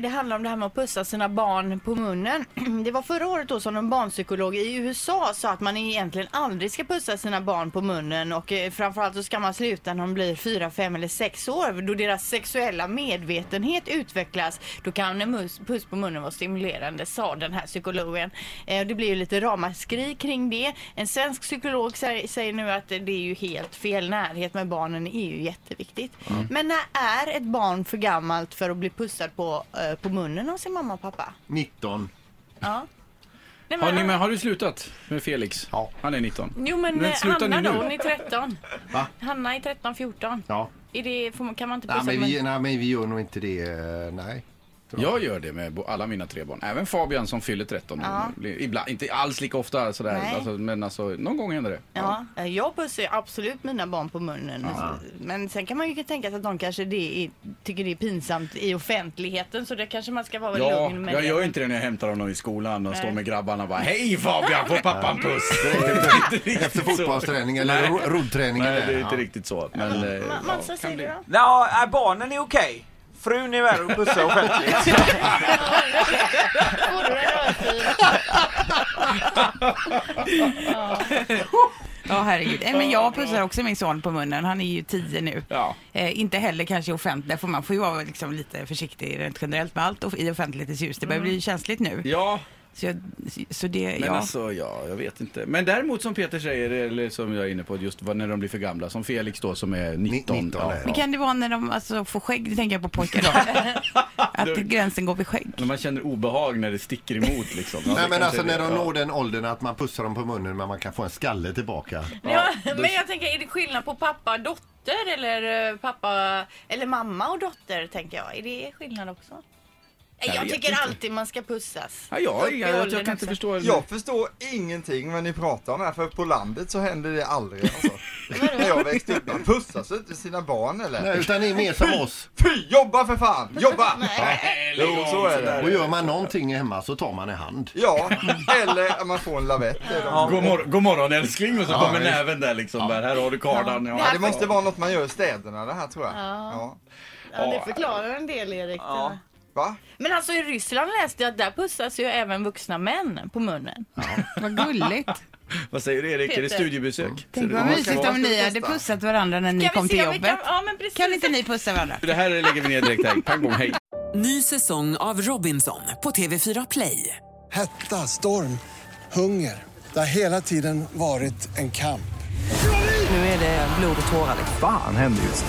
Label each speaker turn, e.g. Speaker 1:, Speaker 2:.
Speaker 1: Det handlar om det här med att pussa sina barn på munnen. Det var förra året då som en barnpsykolog i USA sa att man egentligen aldrig ska pussa sina barn på munnen och eh, framförallt så ska man sluta när de blir 4, 5 eller 6 år då deras sexuella medvetenhet utvecklas. Då kan en mus- puss på munnen vara stimulerande sa den här psykologen. Eh, Det blir ju lite ramaskri kring det. En svensk psykolog sä- säger nu att eh, det är ju helt fel. Närhet med barnen är ju jätteviktigt. Men när är ett barn för gammalt för att bli pussad på, eh, på munnen av sin mamma och pappa?
Speaker 2: 19.
Speaker 1: Ja. Nej,
Speaker 3: Har, ni, men har du slutat med Felix?
Speaker 2: Ja.
Speaker 3: Han är 19.
Speaker 4: Jo men,
Speaker 3: Men
Speaker 4: eh,
Speaker 3: sluta
Speaker 4: Hanna
Speaker 3: nu,
Speaker 4: då,
Speaker 3: nu.
Speaker 4: hon är 13.
Speaker 2: Va?
Speaker 4: Hanna är 13, 14.
Speaker 2: Ja.
Speaker 4: Är det, får man, kan man inte
Speaker 2: Nej
Speaker 4: pussa
Speaker 2: men,
Speaker 4: på
Speaker 2: vi,
Speaker 4: munnen?
Speaker 2: nej, men vi gör nog inte det. eh, Nej.
Speaker 3: Jag gör det med bo- alla mina tre barn. Även Fabian som fyller 13. Ibland, inte alls lika ofta sådär.
Speaker 1: Nej.
Speaker 3: Alltså, men alltså, någon gång händer det.
Speaker 1: Ja, eh, jag pussar ju absolut mina barn på munnen. Men sen kan man ju tänka sig att de kanske det är, tycker det är pinsamt i offentligheten så det kanske man ska vara
Speaker 3: Ja,
Speaker 1: lugn med.
Speaker 3: jag
Speaker 1: det.
Speaker 3: gör inte det när jag hämtar honom i skolan och står
Speaker 1: Nej.
Speaker 3: med grabbarna och bara Hej Fabian, får pappa en puss?
Speaker 2: Efter fotbollsträning eller ro- roddträning.
Speaker 3: Nej,
Speaker 2: eller-
Speaker 3: det är
Speaker 2: ja.
Speaker 3: inte riktigt så. Men, eh,
Speaker 1: Ma-
Speaker 3: ja,
Speaker 1: Mats,
Speaker 3: kan
Speaker 1: vad säger
Speaker 3: bli.
Speaker 1: du då?
Speaker 5: Ja, är barnen är okej. Frun är värre att pussa offentligt.
Speaker 1: Får du en örfil?
Speaker 6: Ja herregud. Nej, men jag pussar också min son på munnen. Han är ju tio nu.
Speaker 3: Ja.
Speaker 6: Eh, inte heller kanske offentligt, för man får ju vara liksom lite försiktig rent generellt med allt och i offentlighetens ljus. Det börjar bli känsligt nu.
Speaker 3: Mm. Ja,
Speaker 6: Så, jag, så det,
Speaker 3: men
Speaker 6: ja.
Speaker 3: alltså ja, jag vet inte. Men däremot som Peter säger, eller som jag är inne på, just vad- när de blir för gamla. Som Felix då som är 19.
Speaker 2: 19,
Speaker 3: ja.
Speaker 2: nej.
Speaker 6: Men kan det vara när de alltså, får skägg, det tänker jag på pojkar då. att gränsen går vid skägg.
Speaker 3: När man känner obehag när det sticker emot liksom. Ja, det
Speaker 2: Nej men
Speaker 3: kanske
Speaker 2: alltså
Speaker 3: är
Speaker 2: när
Speaker 3: det.
Speaker 2: de
Speaker 3: Ja.
Speaker 2: når den åldern att man pussar dem på munnen men man kan få en skalle tillbaka.
Speaker 4: Ja, men jag tänker, är det skillnad på pappa och dotter eller eh, pappa...
Speaker 1: Eller mamma och dotter tänker jag. Är det skillnad också? Jag, jag
Speaker 3: vet
Speaker 1: tycker
Speaker 3: inte.
Speaker 1: alltid man ska pussas.
Speaker 3: Ja, jag,
Speaker 1: Upp i
Speaker 3: jag, jag,
Speaker 1: åldern
Speaker 3: kan
Speaker 1: också.
Speaker 3: inte förstå.
Speaker 5: Jag förstår ingenting vad ni pratar om här, för på landet så händer det aldrig alltså. När jag växte upp, man pussas ju inte sina barn eller?
Speaker 2: Nej, utan det är mer som oss.
Speaker 5: Fy, jobba för fan! Jobba! Jo, så är
Speaker 2: Och
Speaker 5: det.
Speaker 2: gör man någonting hemma så tar man i hand.
Speaker 5: Ja, eller att man får en lavett. eller något.
Speaker 3: God, mor- god morgon älskling och så kommer
Speaker 2: visst.
Speaker 3: näven där liksom. Där, här har du kardan. Ja.
Speaker 5: Ja, det måste vara något man gör i städerna det här tror jag. Ja.
Speaker 1: Ja, det förklarar en del Erik.
Speaker 5: Ja. Va?
Speaker 1: Men alltså i Ryssland läste jag att där pussas ju även vuxna män på munnen.
Speaker 6: Vad gulligt.
Speaker 3: Vad säger du Erik? Är det
Speaker 1: Peter.
Speaker 3: studiebesök? Ser
Speaker 6: Tänk
Speaker 3: du-
Speaker 6: vad
Speaker 5: man
Speaker 6: mysigt
Speaker 5: ska-
Speaker 6: om ni
Speaker 5: ska
Speaker 6: hade
Speaker 5: pussa.
Speaker 6: pussat varandra när ni
Speaker 1: Kan vi
Speaker 6: kom
Speaker 1: se
Speaker 6: till
Speaker 1: om vi
Speaker 6: jobbet.
Speaker 1: Kan, ja, men precis.
Speaker 6: Kan inte ni pussa varandra?
Speaker 3: Det här lägger vi ner direkt här. Pang bom hej.
Speaker 7: Ny säsong av Robinson på TV4 Play.
Speaker 8: Hetta, storm, hunger. Det har hela tiden varit en kamp.
Speaker 7: Nu är det blod och tårar. liksom.
Speaker 9: Fan händer just nu.